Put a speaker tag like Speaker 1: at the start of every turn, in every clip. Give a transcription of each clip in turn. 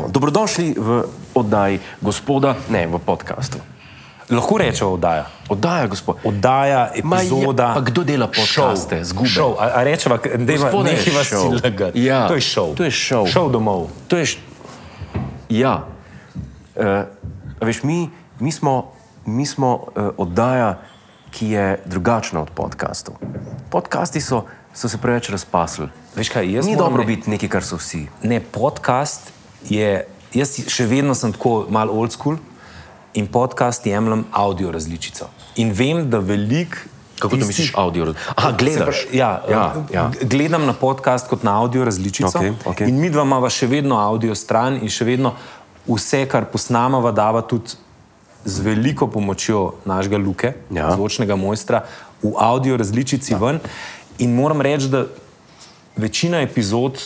Speaker 1: Dobrodošli v oddaji gospoda, ne v podkastu.
Speaker 2: Lahko rečemo oddaja.
Speaker 1: Oddaja gospoda.
Speaker 2: Oddaja,
Speaker 1: Ma ja,
Speaker 2: epizoda.
Speaker 1: pa kdo dela podcaste? Zgube.
Speaker 2: Šov. A, a rečeva, da ima
Speaker 1: Gospoda je
Speaker 2: nekaj vas
Speaker 1: šov.
Speaker 2: lagati.
Speaker 1: Ja.
Speaker 2: To je šov.
Speaker 1: To je šov.
Speaker 2: Šov domov.
Speaker 1: To je. š- Ja. Uh, veš, mi, mi smo, mi smo uh, oddaja, ki je drugačna od podkastov. Podcasti so, so se preveč razpasli.
Speaker 2: Veš kaj, jaz
Speaker 1: Ni
Speaker 2: moram
Speaker 1: dobro
Speaker 2: re-
Speaker 1: biti nekaj, kar so vsi.
Speaker 2: Ne, podcast je, jaz še vedno sem tako malo old school in podcast jemljem avdio različico. In vem, da velik.
Speaker 1: Kako to
Speaker 2: tistih-
Speaker 1: misliš, avdio? Aha, gledaš.
Speaker 2: Se pravi, Ja,
Speaker 1: ja,
Speaker 2: eh,
Speaker 1: ja.
Speaker 2: g- Gledam na podcast kot na avdio različico.
Speaker 1: Okej, okej.
Speaker 2: In mi dva imamo še vedno avdio stran in še vedno vse, kar posnamava, dava tudi z veliko pomočjo našega Luke,
Speaker 1: Ja.
Speaker 2: zvočnega mojstra, v avdio različici ven. In moram reči, da večina epizod,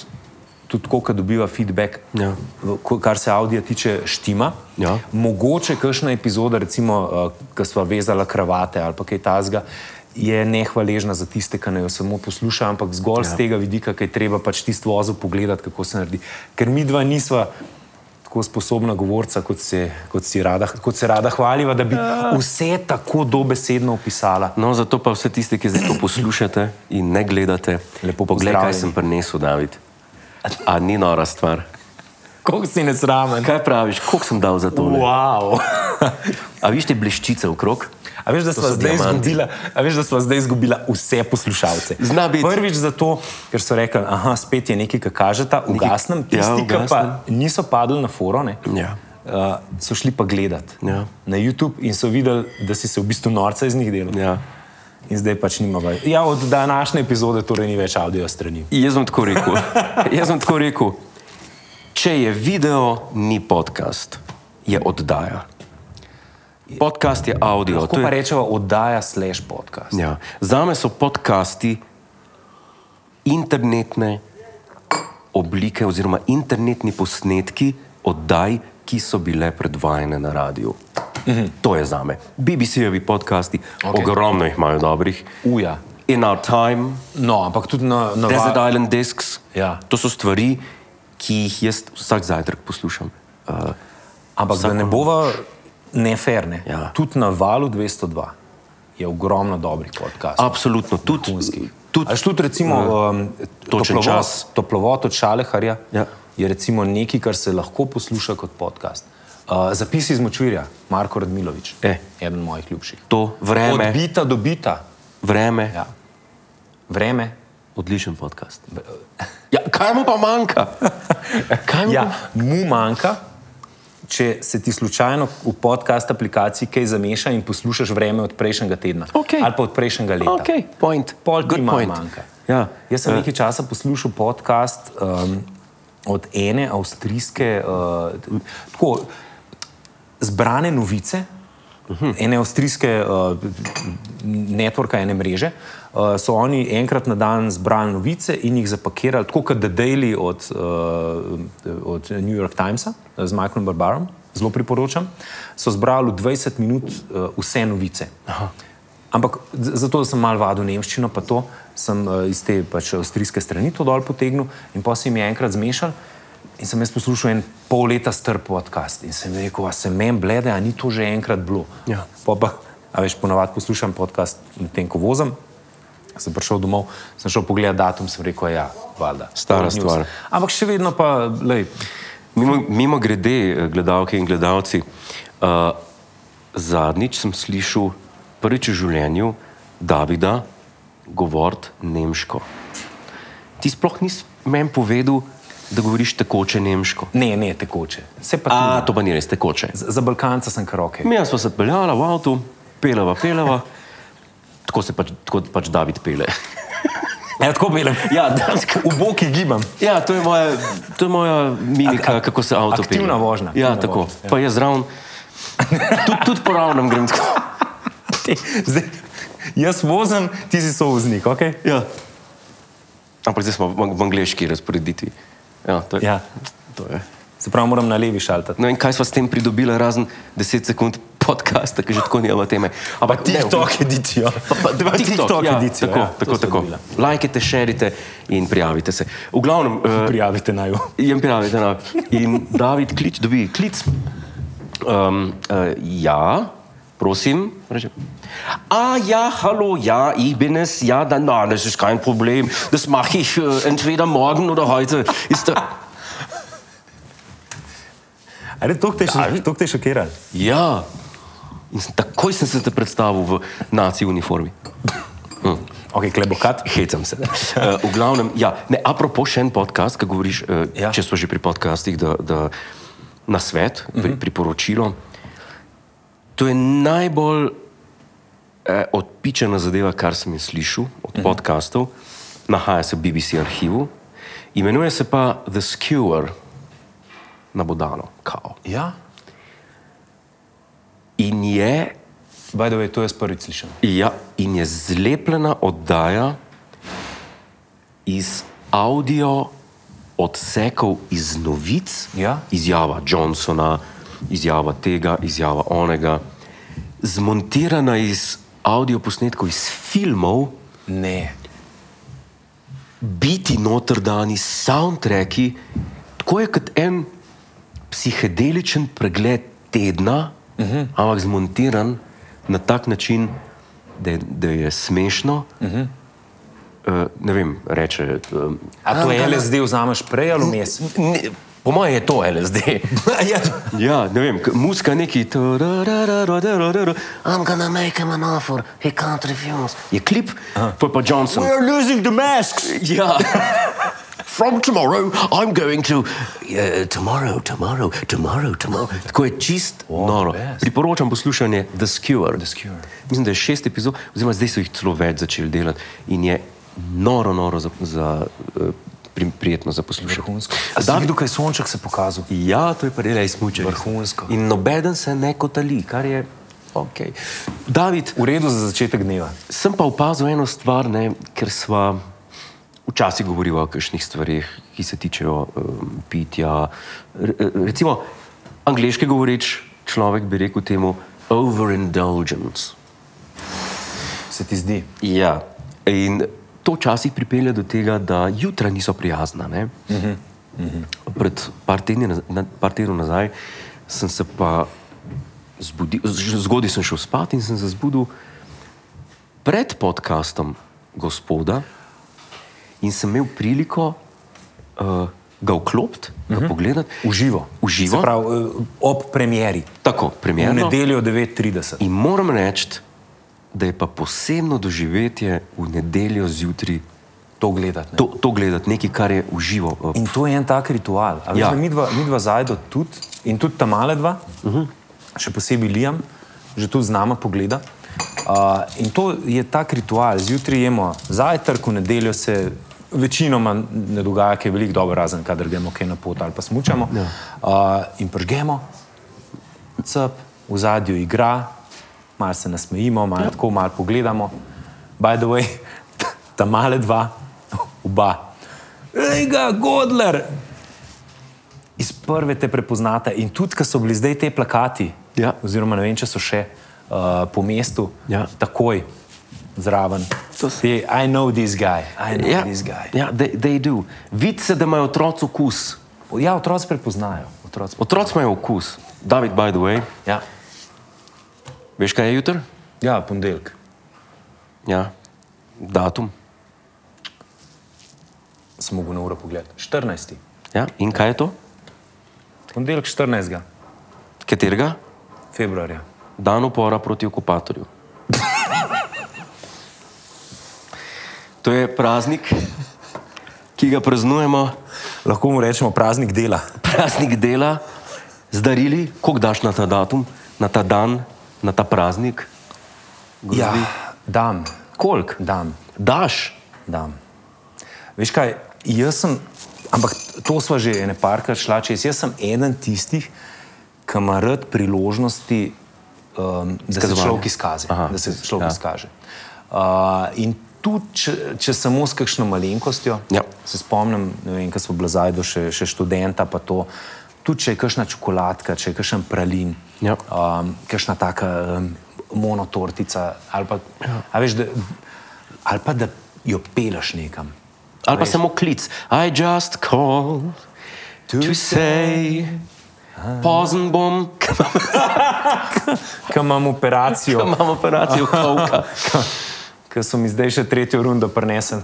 Speaker 2: tudi tako, ko dobiva feedback,
Speaker 1: Ja.
Speaker 2: v- ko- kar se avdija tiče, štima.
Speaker 1: Ja.
Speaker 2: Mogoče kakšna epizoda, recimo, eh, ko smo vezali kravate ali pa kaj tasga, je nehvaležna za tiste, ki ne jo samo posluša, ampak zgolj ja. z tega vidika, ki je treba pač tisto vozo pogledati, kako se naredi. Ker mi dva nisva. Tako sposobna govorca, kot se, kot, si rada, kot se rada hvaliva, da bi vse tako dobesedno opisala.
Speaker 1: No, zato pa vse tiste, ki zdaj to poslušate in ne gledate,
Speaker 2: Lepo
Speaker 1: poglej,
Speaker 2: pozdravljeni.
Speaker 1: kaj sem prinesel, David. A ni nora stvar.
Speaker 2: Kako si nesramen?
Speaker 1: Kaj praviš, koliko sem dal za to?
Speaker 2: Wow.
Speaker 1: A viš te bleščice okrog?
Speaker 2: A veš, da
Speaker 1: so
Speaker 2: smo zdaj
Speaker 1: diamanti.
Speaker 2: izgubila, a veš, da sva zdaj izgubila vse poslušalce.
Speaker 1: Zna biti.
Speaker 2: Prvič zato, ker so rekli, aha, spet je nekaj, kar kažeta, ugasnem.
Speaker 1: ja,
Speaker 2: Tisti, ki
Speaker 1: ugasnem.
Speaker 2: pa niso padli na foro, ne,
Speaker 1: Ja.
Speaker 2: uh, so šli pa gledat
Speaker 1: Ja.
Speaker 2: na YouTube in so videli, da si se v bistvu norca iz njih delal.
Speaker 1: ja.
Speaker 2: In zdaj pač nima več. Ja, od današnje epizode torej ni več avdio strani.
Speaker 1: Jaz bom tako rekel. Jaz bom tako rekel. Če je video, ni podcast, je oddaja. Podcast je audio.
Speaker 2: Ko
Speaker 1: to
Speaker 2: pa
Speaker 1: je-
Speaker 2: rečeva oddaja slash podcast.
Speaker 1: Ja. Za me so podcasti internetne oblike oziroma internetni posnetki oddaj, ki so bile predvajane na radiju. Mhm. To je za me. BBC-jevi podcasti, okay. ogromno jih imajo dobrih.
Speaker 2: Uja.
Speaker 1: In Our Time,
Speaker 2: No, ampak tudi na, na
Speaker 1: Desert Island Discs.
Speaker 2: Ja.
Speaker 1: To so stvari, ki jih jaz vsak zajtrk poslušam. Uh,
Speaker 2: Ampak da ne bova neferne.
Speaker 1: Ja.
Speaker 2: Tudi na valu 202 je ogromno dobrih podkastov.
Speaker 1: absolutno, tudi.
Speaker 2: Tudi,
Speaker 1: tudi Ja.
Speaker 2: Až tudi recimo, um,
Speaker 1: Točen
Speaker 2: toplovod,
Speaker 1: čas.
Speaker 2: toplovod od Šaleharja
Speaker 1: Ja.
Speaker 2: je recimo nekaj, kar se lahko posluša kot podcast. Uh, zapisi iz Močvirja, Marko Radmilovič,
Speaker 1: E.
Speaker 2: eden mojih ljubših.
Speaker 1: to vreme,
Speaker 2: Od bita do bita.
Speaker 1: vreme
Speaker 2: Ja. Vreme.
Speaker 1: Odličen podcast. Ja, kaj mu pa manjka? Kaj mu
Speaker 2: Ja,
Speaker 1: ja.
Speaker 2: mu manjka, če se ti slučajno v podcast aplikaciji kaj zameša in poslušaš vreme od prejšnjega tedna
Speaker 1: Okej.
Speaker 2: ali pa od prejšnjega leta.
Speaker 1: Okay, point.
Speaker 2: Pol ti
Speaker 1: Good
Speaker 2: malo
Speaker 1: point.
Speaker 2: manjka.
Speaker 1: Ja.
Speaker 2: Jaz sem
Speaker 1: Eh,
Speaker 2: nekaj časa poslušal podcast um, od ene avstrijske, uh, tako zbrane novice, uh -huh. ene avstrijske uh, networka, ene mreže. Uh, so oni enkrat na dan zbrali novice in jih zapakirali, tako kot The Daily od, uh, od New York Timesa uh, z Michaelom Barbarom, zelo priporočam. So zbrali v 20 minut uh, vse novice. Aha. Ampak z- zato sem malo vadil nemščino, pa to sem eh, iz te pač avstrijske strani to dol potegnil in pa se jim je enkrat zmešal. In sem jaz poslušal en pol leta star podcast in sem rekel, a se meni blede, a ni to že enkrat bilo.
Speaker 1: Ja.
Speaker 2: Pol Pa, a veš, ponavadi poslušam podcast medtem, ko vozim. Sem prišel domov, sem šel pogledat datum, sem rekel, ja, valjda.
Speaker 1: Stara
Speaker 2: News.
Speaker 1: stvar.
Speaker 2: Ampak še vedno pa, lej,
Speaker 1: Mimo, mimo grede, eh, gledalke in gledalci, uh, zadnjič sem slišal prvič v življenju Davida govoriti nemško. Ti sploh nisi meni povedal, da govoriš tekoče nemško.
Speaker 2: ne, ne, tekoče. Se pa
Speaker 1: A,
Speaker 2: tudi.
Speaker 1: to pa ni res tekoče.
Speaker 2: Z- Za Balkanca sem kar okej.
Speaker 1: Mi smo se peljali v avtu, peleva, peleva. Tako se pač, tako pač David pele.
Speaker 2: Ja, tako pelem.
Speaker 1: Ja, dansko.
Speaker 2: V boki gibam.
Speaker 1: Ja, to je moja, to je moja mimika,
Speaker 2: Ak-
Speaker 1: ak,
Speaker 2: ak-
Speaker 1: kako se avto pelje.
Speaker 2: aktivna vožnja,
Speaker 1: Ja,
Speaker 2: aktivna
Speaker 1: tako.
Speaker 2: vožnja,
Speaker 1: Vožnja, pa jaz zraven, tudi tud po ravnem grem tako.
Speaker 2: Te, zdaj, jaz vozim, ti si sovoznik, ok?
Speaker 1: Ja. Ampak zdaj smo v, v angliški razporeditvi. Ja, to je,
Speaker 2: Ja.
Speaker 1: to je.
Speaker 2: Se pravi, moram na levi šaltati.
Speaker 1: No in kaj smo s tem pridobili, razen 10 sekund podcaste, ki že tako nima teme. Ampak ne,
Speaker 3: TikTok editijo.
Speaker 1: Pa, da,
Speaker 3: TikTok
Speaker 1: ja,
Speaker 3: edicijo,
Speaker 1: Tako,
Speaker 3: ja, to
Speaker 1: tako,
Speaker 3: sta
Speaker 1: tako.
Speaker 3: dobila.
Speaker 1: Lajkajte, šerite in prijavite se. V glavnem, eh,
Speaker 3: Prijavite naj jo.
Speaker 1: Jem pravi, da ne. In David klič, dobi klic. Um, uh, ja, prosim. Reče. A ja, hallo, ja, ich bin es, ja, dann, na, das ist kein Problem. Das mache ich äh, entweder morgen oder heute. Ist da,
Speaker 3: Ali to te še, to te šokira?
Speaker 1: ja. In sem, takoj sem se te predstavil v naci uniformi.
Speaker 2: Ok, klebokat.
Speaker 1: Hecam se. Uh, v glavnem, ja, ne, apropo še en podcast, ki govoriš, uh, ja.
Speaker 2: Ja.
Speaker 1: če smo že pri podcastih, da, da na svet, uh -huh. pri, priporočilo. To je najbolj eh, odpičena zadeva, kar sem jaz slišal od uh -huh. podkastov. Nahaja se v BBC arhivu, imenuje se pa The Skewer, nabodano, kao.
Speaker 2: Ja,
Speaker 1: In je
Speaker 2: by the way, to jaz prvič slišim.
Speaker 1: Ja, in je zlepljena oddaja iz audio odsekov iz novic,
Speaker 2: Ja.
Speaker 1: izjava Johnsona, izjava tega, izjava onega, zmontirana iz audio posnetkov iz filmov,
Speaker 2: Ne.
Speaker 1: biti noter dani soundtracki. Tako je kot en psihedeličen pregled tedna, uh -huh. ampak zmontiran na tak način, da je, da je smešno. Uh -huh. Uh, ne vem, reče. Um,
Speaker 2: A to je LSD vzameš prej ali vmes?
Speaker 1: Ne, po mojem je to LSD.
Speaker 2: ja.
Speaker 1: ja, ne vem, k- muzika neki. tararararararara,
Speaker 4: I'm gonna make him an offer he can't refuse.
Speaker 1: Je klip, pol pa Johnson.
Speaker 4: We're losing the masks!
Speaker 1: Ja,
Speaker 4: From tomorrow, I'm going to. Uh, tomorrow, tomorrow, tomorrow, tomorrow.
Speaker 1: tako je čist oh, noro.
Speaker 2: best.
Speaker 1: Priporočam poslušanje The Skewer.
Speaker 2: The Skewer.
Speaker 1: Mislim, da je šest epizod, oziroma zdaj so jih celo več začeli delati in je noro, noro za, za, eh, pri, prijetno za poslušanje.
Speaker 2: A
Speaker 1: Da,
Speaker 2: zdaj videl, kaj sonček se pokazal?
Speaker 1: ja, to je pa res izmučen.
Speaker 2: Vrhunsko.
Speaker 1: In nobeden se ne kotali, kar je ok. David,
Speaker 2: V redu za začetek dneva.
Speaker 1: sem pa opazil eno stvar, ne, ker sva včasih govorila o kakšnih stvarih, ki se tičejo um, pitja. Re, recimo, angliški govoreč človek bi rekel temu overindulgence.
Speaker 2: Se ti zdi?
Speaker 1: Ja. In to včasih pripelje do tega, da jutra niso prijazna. ne.
Speaker 2: Mhm,
Speaker 1: Pred par tedni naz- na- par tednov nazaj sem se pa zbudil, z- zgodaj sem šel spat in sem se zbudil pred podkastom gospoda in sem imel priliko uh, ga vklopiti, ga
Speaker 2: Mhm.
Speaker 1: pogledati.
Speaker 2: V živo.
Speaker 1: V živo.
Speaker 2: Se pravi, eh, ob premjeri.
Speaker 1: Tako,
Speaker 2: V
Speaker 1: premjerno.
Speaker 2: nedeljo 9.30.
Speaker 1: In moram reči, da je pa posebno doživetje v nedeljo zjutraj
Speaker 2: To gledati. ne.
Speaker 1: to, to gledati, nekaj, kar je uživo. eh,
Speaker 2: In to je en tak ritual. A Veš,
Speaker 1: Ja.
Speaker 2: ja. Mi dva, mi dva zajdo tudi in tudi ta male dva, uh -huh. še posebej Lijam, že tudi z nama pogleda. Uh, in to je tak ritual. Zjutraj jemo zajtrk, v nedeljo se večinoma ne dogaja kaj veliko dobro, razen kadar gremo kaj na pot ali pa smučamo. Ja. Uh, in pržgemo, cep, v zadju igra, malo se nasmejimo, malo ja. tako, malo pogledamo. By the way, ta male dva, oba. Ej, ga, Godler! Iz prve te prepoznate in tudi, ker so bili zdaj te plakati,
Speaker 1: Ja.
Speaker 2: oziroma ne vem, če so še uh, po mestu,
Speaker 1: Ja.
Speaker 2: takoj zraven. Te, I know this guy, I know
Speaker 1: Ja,
Speaker 2: this guy.
Speaker 1: ja they, they do. Vidi se, da imajo otroci okus.
Speaker 2: Ja, otroci prepoznajo. Otroci.
Speaker 1: Otroci imajo okus. David, by the way,
Speaker 2: Ja,
Speaker 1: veš kaj je jutr?
Speaker 2: ja ponedeljek.
Speaker 1: Ja, datum.
Speaker 2: Sem mogel na uro pogledati. 14.
Speaker 1: Ja. In kaj je to?
Speaker 2: Ponedeljek 14.
Speaker 1: Katerega?
Speaker 2: februarja.
Speaker 1: Dan upora proti okupatorju. To je praznik, ki ga praznujemo,
Speaker 2: Lahko mu rečemo praznik dela.
Speaker 1: praznik dela, zdarili, koliko daš na ta datum, na ta dan, na ta praznik. Grozbi.
Speaker 2: Ja, dam,
Speaker 1: Koliko?
Speaker 2: dam,
Speaker 1: Daš,
Speaker 2: dam. Veš kaj, jaz sem, ampak to sva že ene parkrat šla čez. Jaz sem eden tistih, ki ima rad priložnosti, um, da se
Speaker 1: Izkazovanja.
Speaker 2: človek izkaže.
Speaker 1: Aha,
Speaker 2: Da se človek
Speaker 1: ja.
Speaker 2: ja. izkaže. Uh, in tudi, če, če samo s kakšno malenkostjo,
Speaker 1: Ja.
Speaker 2: se spomnim, ne vem, ko smo bili zajedno še, še študenta, pa to. tudi če je kakšna čokoladka, če je kakšen pralin,
Speaker 1: Ja.
Speaker 2: um, kakšna taka um, monotortica, ali pa, ja. veš, da, ali pa da jo peleš nekam.
Speaker 1: Ali pa samo klic. I just call to, to say, "Ah." pozen bom, ker
Speaker 2: Ko imam operacijo,
Speaker 1: imam operacijo kolka.
Speaker 2: ki so mi zdaj še tretjo rundo prinesli.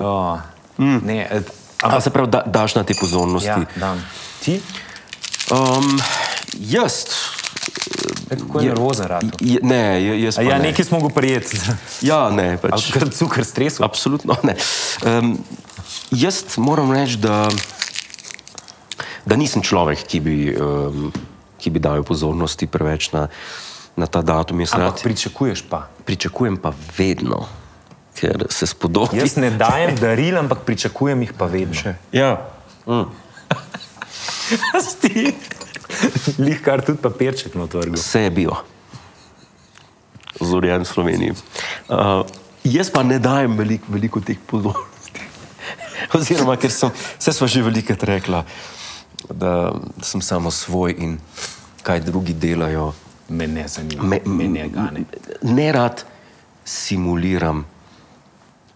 Speaker 2: oh. mm. Ne, eh,
Speaker 1: Ampak se pravi, da, daš na te pozornosti.
Speaker 2: ja,
Speaker 1: Ja.
Speaker 2: dam. Ti,
Speaker 1: Um, jaz.
Speaker 2: kako je nervozen rad.
Speaker 1: je- Ne, j- jaz. pa
Speaker 2: Ja,
Speaker 1: ne.
Speaker 2: nekaj smo ga prijeti,
Speaker 1: Ja, ne. Pač.
Speaker 2: ker cukor stresu.
Speaker 1: Absolutno ne. Um, jaz moram reči, da, da nisem človek, ki bi, um, ki bi dal pozornosti preveč na, na ta datum. Jaz rad
Speaker 2: Ampak pričakuješ pa.
Speaker 1: pričakujem pa vedno, ker se spodobi.
Speaker 2: Jaz ne dajem daril, ampak pričakujem jih pa vedno. Še.
Speaker 1: Ja.
Speaker 2: Ti. Lih kar tudi papirček na trgu.
Speaker 1: Vse je bil, zorjen v Sloveniji. Uh, jaz pa ne dajem veliko, veliko teh pozornosti. Oziroma, ker sem, vse smo že velikokrat rekla, da sem samo svoj in kaj drugi delajo.
Speaker 2: Me ne zanima,
Speaker 1: Me-
Speaker 2: me, me ne gane.
Speaker 1: Ne rad simuliram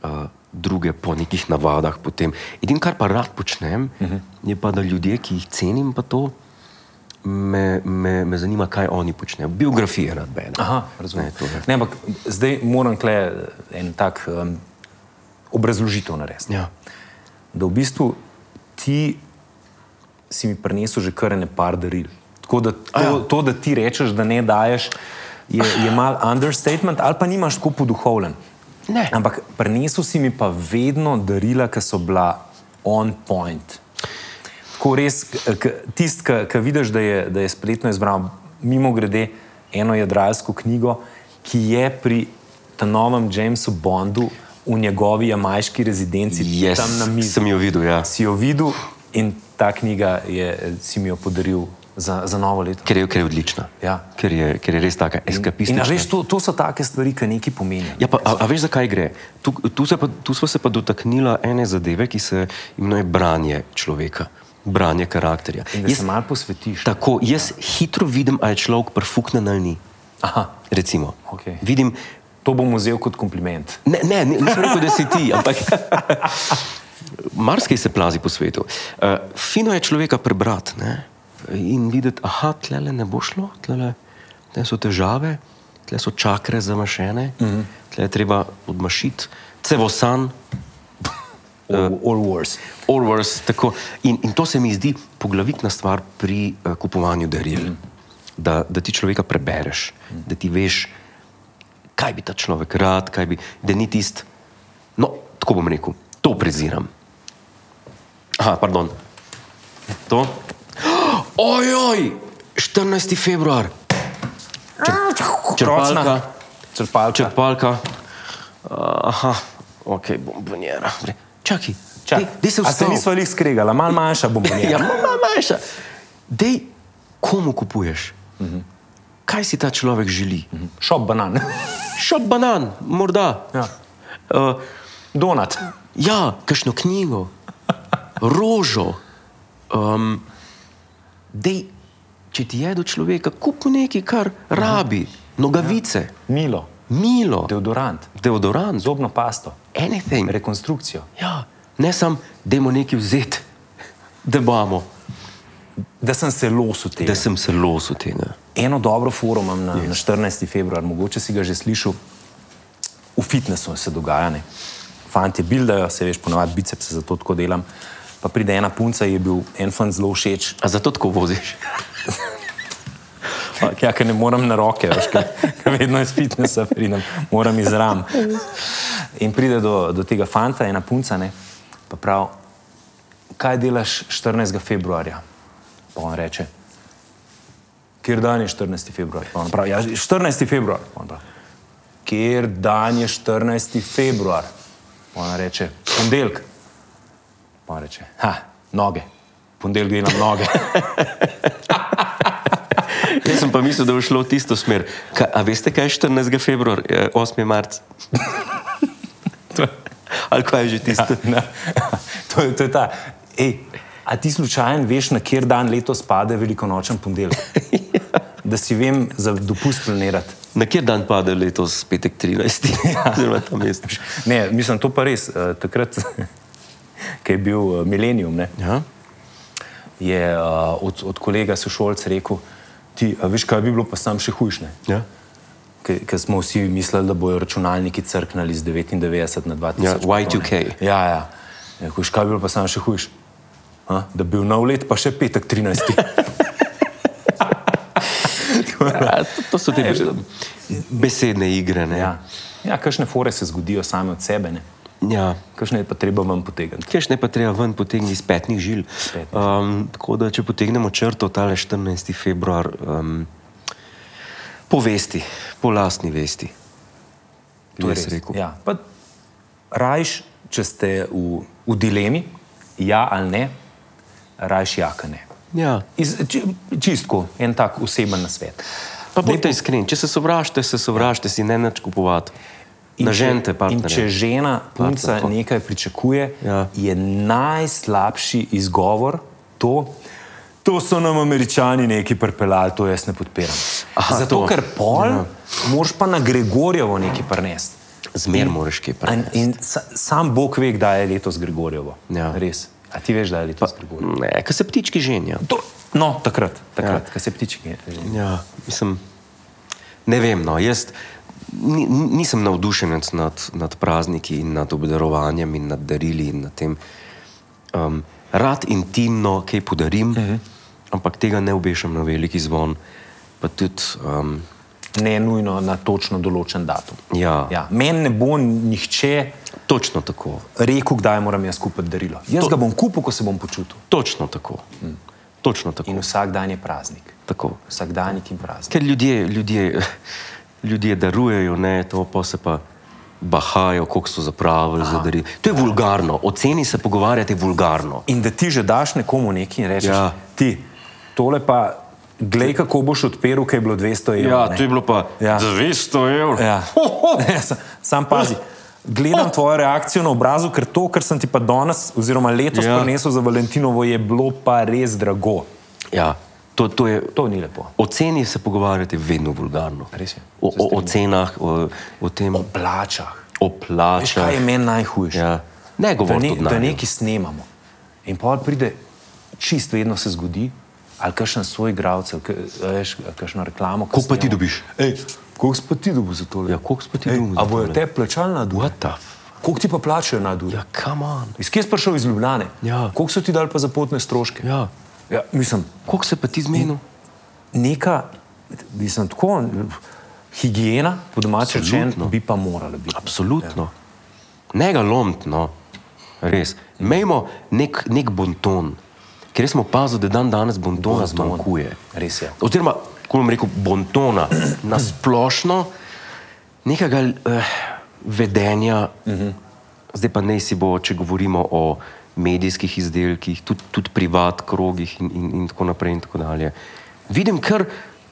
Speaker 1: uh, druge po nekih navadah. Potem. Edino, kar pa rad počnem, uh
Speaker 2: Mhm.
Speaker 1: -huh. je pa, da ljudje, ki jih cenim, pa to. Me, me, me zanima, kaj oni počnejo. Biografije rad berem.
Speaker 2: Aha, razumem.
Speaker 1: Ne, to je.
Speaker 2: Ne, ampak zdaj moram kle en tak um, obrazložitev narediti.
Speaker 1: Ja.
Speaker 2: Da v bistvu ti si mi prinesel že kar ne par daril. Tako da to, ja. to, da ti rečeš, da ne daješ, je, je mal understatement ali pa nimaš tako poduhovljen.
Speaker 1: Ne.
Speaker 2: Ampak prinesel si mi pa vedno darila, ki so bila on point. Tako res, tisti, ki vidiš, da je, da je spretno izbral, mimo grede, eno jadralsko knjigo, ki je pri tem novem Jamesu Bondu v njegovi jamajški rezidenci
Speaker 1: Yes,
Speaker 2: tam na mizi.
Speaker 1: sem jo videl. Ja.
Speaker 2: Si jo videl in ta knjiga je, si mi jo podaril za, za novo leto.
Speaker 1: Ker, je, ker je odlična.
Speaker 2: Ja.
Speaker 1: Ker, je, ker je res taka
Speaker 2: In a
Speaker 1: eskapistična.
Speaker 2: veš, to, to so take stvari, ki nekaj pomenijo.
Speaker 1: Ja, pa, a, a veš, zakaj gre? Tu, tu, se pa, tu smo se pa dotaknili ene zadeve, ki se imenuje branje človeka, branje karakterja.
Speaker 2: In da se malo posvetiš.
Speaker 1: tako, jaz hitro vidim, ali je človek prfuknen ali ni.
Speaker 2: Aha,
Speaker 1: Recimo.
Speaker 2: Okej.
Speaker 1: Vidim,
Speaker 2: to bom vzel kot kompliment.
Speaker 1: Ne, ne, ni- nisem rekel, da si ti, ampak marsikaj se plazi po svetu. Uh, fino je človeka prebrati ne? in videti, da tle ne bo šlo, tle so težave, tle so čakre zamašene, uh -huh. tle je treba odmašiti, cevosan,
Speaker 2: Or, or worse.
Speaker 1: orvars. tako. In, in to se mi zdi poglavitna stvar pri uh, kupovanju daril.
Speaker 2: Mm.
Speaker 1: Uh -huh. da, da ti človeka prebereš, uh -huh. da ti veš, kaj bi ta človek rad, kaj bi, da ni tisti. No, tako bom rekel, to preziram. Aha, pardon. To. Ojoj, 14. februar, črpalka.
Speaker 2: Črpalka. Črp
Speaker 1: črpalka. Uh, aha, ok, bombonjera. Čakaj,
Speaker 2: Čak,
Speaker 1: daj se
Speaker 2: a se
Speaker 1: vstavi.
Speaker 2: nismo jih skregala, malo manjša bom
Speaker 1: Ja,
Speaker 2: bila.
Speaker 1: malo manjša. Dej, komu kupuješ? Kaj si ta človek želi?
Speaker 2: Šop banan.
Speaker 1: Šop banan, morda.
Speaker 2: Ja.
Speaker 1: Uh,
Speaker 2: Donat.
Speaker 1: Ja, kakšno knjigo, rožo. Um, dej, če ti je do človeka, kup mu nekaj, kar rabi, nogavice,
Speaker 2: Milo.
Speaker 1: milo,
Speaker 2: Deodorant.
Speaker 1: deodorant,
Speaker 2: Zobno pasto.
Speaker 1: anything.
Speaker 2: Rekonstrukcijo.
Speaker 1: Ja, ne samo, da mu nekaj vzeti, da imamo,
Speaker 2: Da sem se losil tega.
Speaker 1: da sem se losil tega.
Speaker 2: Eno dobro forum imam na, na 14. februar, mogoče si ga že slišal. V fitnessu se dogaja, ne. Fantje buildajo, se veš, ponovadi bicepse, zato tako delam. Pa pride ena punca, ji je bil en fant zelo všeč,
Speaker 1: A zato tako voziš?
Speaker 2: Ja, ker ne morem na roke, veš, ker, ker vedno iz fitnesa pridem, moram iz ram. In pride do, do tega fanta, ena punca, ne, pa prav, kaj delaš 14. februarja? Pa on reče, kjer dan je 14. februar? Pa on pravi, ja, 14. februar. Pa on pravi, kjer dan je 14. februar? Pa on reče, ponedeljk. Pa on reče, ha, noge. Ponedeljk delam noge.
Speaker 1: Jaz sem pa mislil, da bo šlo v tisto smer. Ka, a veste, kaj je 14. februar, eh, 8. marc? Ali kaj je že tisto?
Speaker 2: Na, to, je, to je ta, ej, A ti slučajen veš, na kjer dan letos pade velikonočen ponedeljek? Da si vem za dopust planirati.
Speaker 1: Na kjer dan pade letos petek 13. Oziroma ta mesec.
Speaker 2: Ne, mislim, to pa res. eh, Takrat, ko je bil eh, milenijum, ne,
Speaker 1: Ja?
Speaker 2: je eh, od, od kolega sošolca rekel, ti a veš, kaj bi bilo pa sam še hujšne.
Speaker 1: Ja?
Speaker 2: Ker smo vsi mislili, da bojo računalniki crknili z 99 na 2000.
Speaker 1: Ja,
Speaker 2: pa to,
Speaker 1: Y2K.
Speaker 2: ne. Ja, ja. Je Rekel, "Veš, kaj bi bilo pa sam še hujš? Ha? Da bi bil nov let, pa še petek 13.
Speaker 1: Ja, to, to so te be, besedne igre. Ne?
Speaker 2: ja. ja, kakšne fore se zgodijo same od sebe, ne?
Speaker 1: Ja.
Speaker 2: kakšne je pa treba vam potegniti.
Speaker 1: Kajš ne pa treba ven potegniti iz petnih žil.
Speaker 2: petnih
Speaker 1: Um, tako da, če potegnemo črto, tale 14. februar, um, po vesti, po lastni vesti. bi jaz rekel.
Speaker 2: Ja. Pa Rajš, če ste v, v dilemi, ja ali ne, rajš ja, ali ne.
Speaker 1: Ja.
Speaker 2: Iz, či, čistko, en tak oseben nasvet.
Speaker 1: Pa bodite iskreni, če se sovražite, se sovražite, si ne več kupovati.
Speaker 2: In če-
Speaker 1: Nažente
Speaker 2: In če
Speaker 1: partnerje.
Speaker 2: žena, punca
Speaker 1: tako.
Speaker 2: nekaj pričakuje,
Speaker 1: Ja.
Speaker 2: ja. je najslabši izgovor to, to so nam američani neki pripeljali, to jaz ne podpiram.
Speaker 1: Aha,
Speaker 2: Aha, Zato,
Speaker 1: to.
Speaker 2: to. ker pol,
Speaker 1: Ja.
Speaker 2: ja. moraš pa na Gregorjevo nekaj prenesti.
Speaker 1: Zmer moraš kaj
Speaker 2: In,
Speaker 1: prenesti.
Speaker 2: in sa, sam Bog ve, kdaj je letos Gregorjevo.
Speaker 1: Ja.
Speaker 2: Res. A ti veš, da je letos Gregorjevo?
Speaker 1: Ne, ker se ptički ženijo.
Speaker 2: To, no, takrat, takrat, ja. ko se ptički.
Speaker 1: Ja, mislim, ne vem, no, jaz ni, ni- nisem navdušenec nad, nad prazniki in nad obdarovanjem in nad darili in nad tem. Um, rad intimno kaj podarim, uh
Speaker 2: Mhm.
Speaker 1: -huh. ampak tega ne obešam na veliki zvon. Pa tudi, um,
Speaker 2: Ne nujno na točno določen datum.
Speaker 1: Ja.
Speaker 2: Ja. Meni ne bo nihče
Speaker 1: točno tako,
Speaker 2: rekel, kdaj moram jaz kupiti darilo. Jaz
Speaker 1: To-
Speaker 2: to. ga bom kupil, ko se bom počutil.
Speaker 1: točno tako. Mm. Točno tako.
Speaker 2: Mhm. In vsak dan je praznik.
Speaker 1: tako.
Speaker 2: Vsak dan je praznik.
Speaker 1: Ker ljudje, ljudje, ljudje darujejo, ne, to pa se pa bahajo, koliko so zapravili. Zadari. To je vulgarno, o ceni se pogovarjate vulgarno.
Speaker 2: In da ti že daš nekomu nekaj in rečeš,
Speaker 1: Ja.
Speaker 2: ja. ti tole pa, glej, kako boš odperil, kaj je bilo 200 evrov.
Speaker 1: Ja,
Speaker 2: ne."
Speaker 1: to je bilo pa
Speaker 2: Ja.
Speaker 1: 200 evrov.
Speaker 2: Ja. Ja, sa- Sam pazi. Gledam tvojo reakcijo na obrazu, ker to, kar sem ti pa danes, oziroma letos
Speaker 1: Ja.
Speaker 2: ja. prinesel za Valentinovo, je bilo pa res drago.
Speaker 1: Ja, to, to je,
Speaker 2: To ni lepo.
Speaker 1: o ceni se pogovarjate vedno vulgarno.
Speaker 2: Res je,
Speaker 1: O,
Speaker 2: se
Speaker 1: o, o cenah, o, o tem,
Speaker 2: O plačah.
Speaker 1: o
Speaker 2: Veš, kaj je
Speaker 1: plačah.
Speaker 2: meni najhujše?
Speaker 1: Ja. Ne
Speaker 2: Da,
Speaker 1: govorite
Speaker 2: ne,
Speaker 1: o
Speaker 2: da
Speaker 1: denarju.
Speaker 2: nekaj snemamo. In pa pride, čist vedno se zgodi, ali kakšen svoj igralec, ali ka- a veš, a kakšno reklamo.
Speaker 1: Koliko pa ti dobiš?
Speaker 2: Ej, koliko si pa ti dobil za tole?
Speaker 1: Ja, koliko si pa ti
Speaker 2: Ej,
Speaker 1: dobil za
Speaker 2: A bojo
Speaker 1: tole?
Speaker 2: te plačali na duh?
Speaker 1: What the f...
Speaker 2: Koliko ti pa plačajo na duh?
Speaker 1: Ja, come on.
Speaker 2: Iz kje si prišel iz Ljubljana?
Speaker 1: Ja.
Speaker 2: Koliko so ti dali pa za potne stroške?
Speaker 1: Ja.
Speaker 2: Ja, mislim,
Speaker 1: Koliko se pa ti zmenil?
Speaker 2: neka, mislim, tako, higiena, po domače rečeno, bi pa morala biti.
Speaker 1: Absolutno. Ja. Ne ga lomiti, no. res. Mejmo nek, nek bonton, ker jaz sem opazil, da dan danes bontona
Speaker 2: Bonton.
Speaker 1: zmanjkuje.
Speaker 2: Res je.
Speaker 1: Ja. Oziroma, kako bom rekel, bontona na splošno, nekega eh, vedenja, uh -huh. zdaj pa naj si bo, če govorimo o medijskih izdelkih, tudi, tudi privat krogih in, in, in tako naprej. In tako dalje. Vidim kar,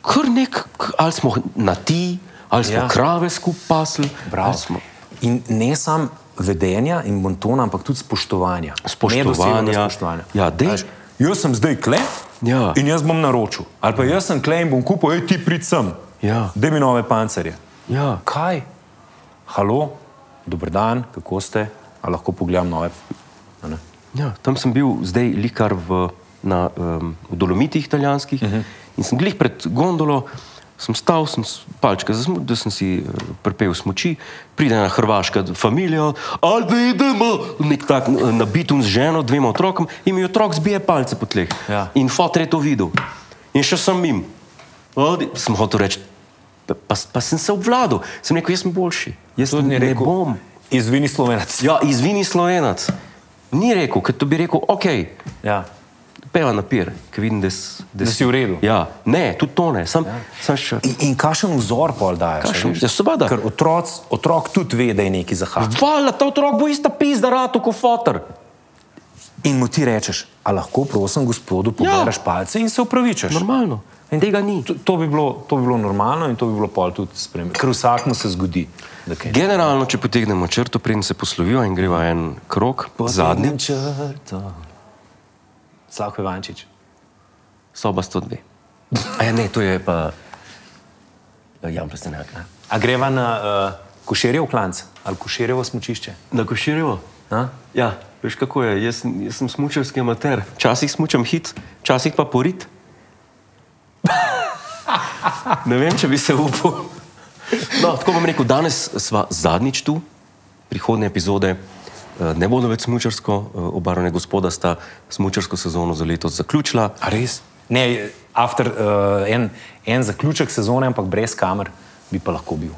Speaker 1: kar nek, k- ali smo na ti, ali smo ja.
Speaker 2: Ja.
Speaker 1: krave skupaj pasli, ali
Speaker 2: Bravo.
Speaker 1: smo
Speaker 2: In ne samo vedenja in bontona, ampak tudi spoštovanja.
Speaker 1: Spoštovanja.
Speaker 2: Nedoseganja spoštovanja.
Speaker 1: Ja, dej.
Speaker 2: Veš, Jaz sem zdaj kle
Speaker 1: Ja.
Speaker 2: in jaz bom naročil. Ali pa jaz sem kle in bom kupil, hej ti prid sem,
Speaker 1: Ja.
Speaker 2: da mi nove pancerje.
Speaker 1: Ja.
Speaker 2: Kaj? Halo, dober dan, kako ste? A lahko pogledam nove? A ne?
Speaker 1: Ja, tam sem bil zdaj likar v, na, um, v Dolomitih italijanskih
Speaker 2: Mhm.
Speaker 1: uh -huh. in sem glih pred gondolo, sem stal, sem s- palčke zasmutil, da sem si uh, prepel smoči, pride ena hrvaška familija, ali da idemo, nek tak eh, nabit un z ženo, dvema otrokom in mi otrok zbije palce po tleh.
Speaker 2: Ja.
Speaker 1: In fotor je to videl. In še sem jim. Odi, sem hotel reči, pa, pa, pa sem se obvladal, sem rekel, jaz sem boljši, jaz
Speaker 2: Tudi
Speaker 1: ne,
Speaker 2: ni
Speaker 1: ne
Speaker 2: rekel,
Speaker 1: bom.
Speaker 2: Izvini slovenac.
Speaker 1: Ja, izvini slovenac. Ni rekel, ker to bi rekel, ok,
Speaker 2: Ja.
Speaker 1: peva na pier, ki vidim, da, s-
Speaker 2: Da si v redu.
Speaker 1: Ja, ne, tudi to ne, sam, ja. sam še.
Speaker 2: In, in kakšen vzor pol daješ? a
Speaker 1: Kakšen-
Speaker 2: veš?
Speaker 1: Ja, seveda.
Speaker 2: Ker otrok, otrok tudi ve, da je nekaj zahačal.
Speaker 1: Hvala, ta otrok bo ista pizda ratu kot fotor.
Speaker 2: In mu ti rečeš, a lahko prosim gospodu poberaš ja. palce in se upravičeš.
Speaker 1: Normalno. In tega ni.
Speaker 2: To, to, bi bilo, to bi bilo normalno in to bi bilo pol tudi spremljeno. Ker vsakmo se zgodi. da kaj-
Speaker 1: Generalno, če potegnemo črto, preden se poslovijo in greva en krok, zadnji.
Speaker 2: Potegnem črto. Slavko Ivančič.
Speaker 1: soba 102. A ja, ne, to je pa Ja, Jan Plesenak.
Speaker 2: A greva na uh, košerjev klanc ali košerjevo smočišče?
Speaker 1: Na Koširjevo?
Speaker 2: A?
Speaker 1: Ja, veš kako je, jaz, sem- jaz sem smučarski amater. Včasih smučam hit, včasih pa porit. ne vem, če bi se upal. No, tako bom rekel, danes sva zadnjič tu, prihodne epizode. eh, Ne bodo več smučarsko, eh, obarvane gospoda sta smučarsko sezono za letos zaključila.
Speaker 2: A res? Ne, after, uh, en, en zaključek sezone, ampak brez kamer, bi pa lahko bil.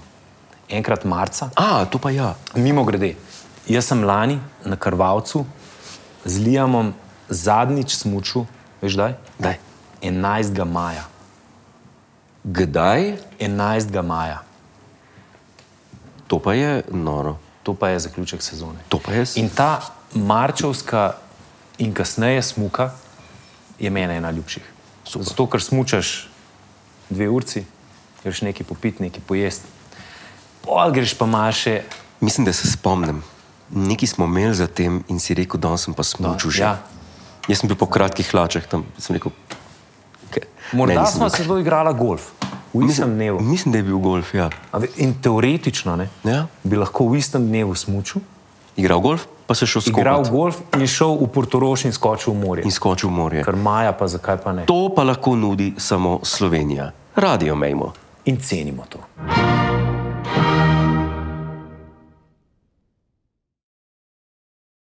Speaker 2: Enkrat marca,
Speaker 1: A, to pa ja.
Speaker 2: mimo grede. Jaz sem lani na Krvavcu z Lijamom zadnjič smučil, veš kdaj?
Speaker 1: Daj.
Speaker 2: 11. maja.
Speaker 1: Kdaj?
Speaker 2: 11. maja.
Speaker 1: To pa je noro.
Speaker 2: To pa je zaključek sezone.
Speaker 1: To pa je s-
Speaker 2: In ta marčevska in kasneje smuka je meni ena ljubših. Super. Zato, ker smučaš dve urci, greš nekaj popiti, nekaj pojesti. Pol greš pa malo še.
Speaker 1: Mislim, da se spomnim. Nekaj smo imeli za tem in si rekel, da sem pa smučil že.
Speaker 2: ja.
Speaker 1: Jaz sem bil po kratkih hlačah tam, sem rekel. "Ke- ne,
Speaker 2: Morda
Speaker 1: nisem
Speaker 2: smo
Speaker 1: bil."
Speaker 2: se zelo igrali golf, v istem dnevu.
Speaker 1: mislim, da je bil golf. Ja.
Speaker 2: A ve- In teoretično ne,
Speaker 1: Ja.
Speaker 2: bi lahko v istem dnevu smučil,
Speaker 1: Igral golf, pa se šel
Speaker 2: igral
Speaker 1: skočil
Speaker 2: golf in šel v Portoroš in skočil v morje.
Speaker 1: in skočil v morje.
Speaker 2: Ker maja, pa zakaj pa ne?
Speaker 1: To pa lahko nudi samo Slovenija. Radio mejmo.
Speaker 2: In cenimo to.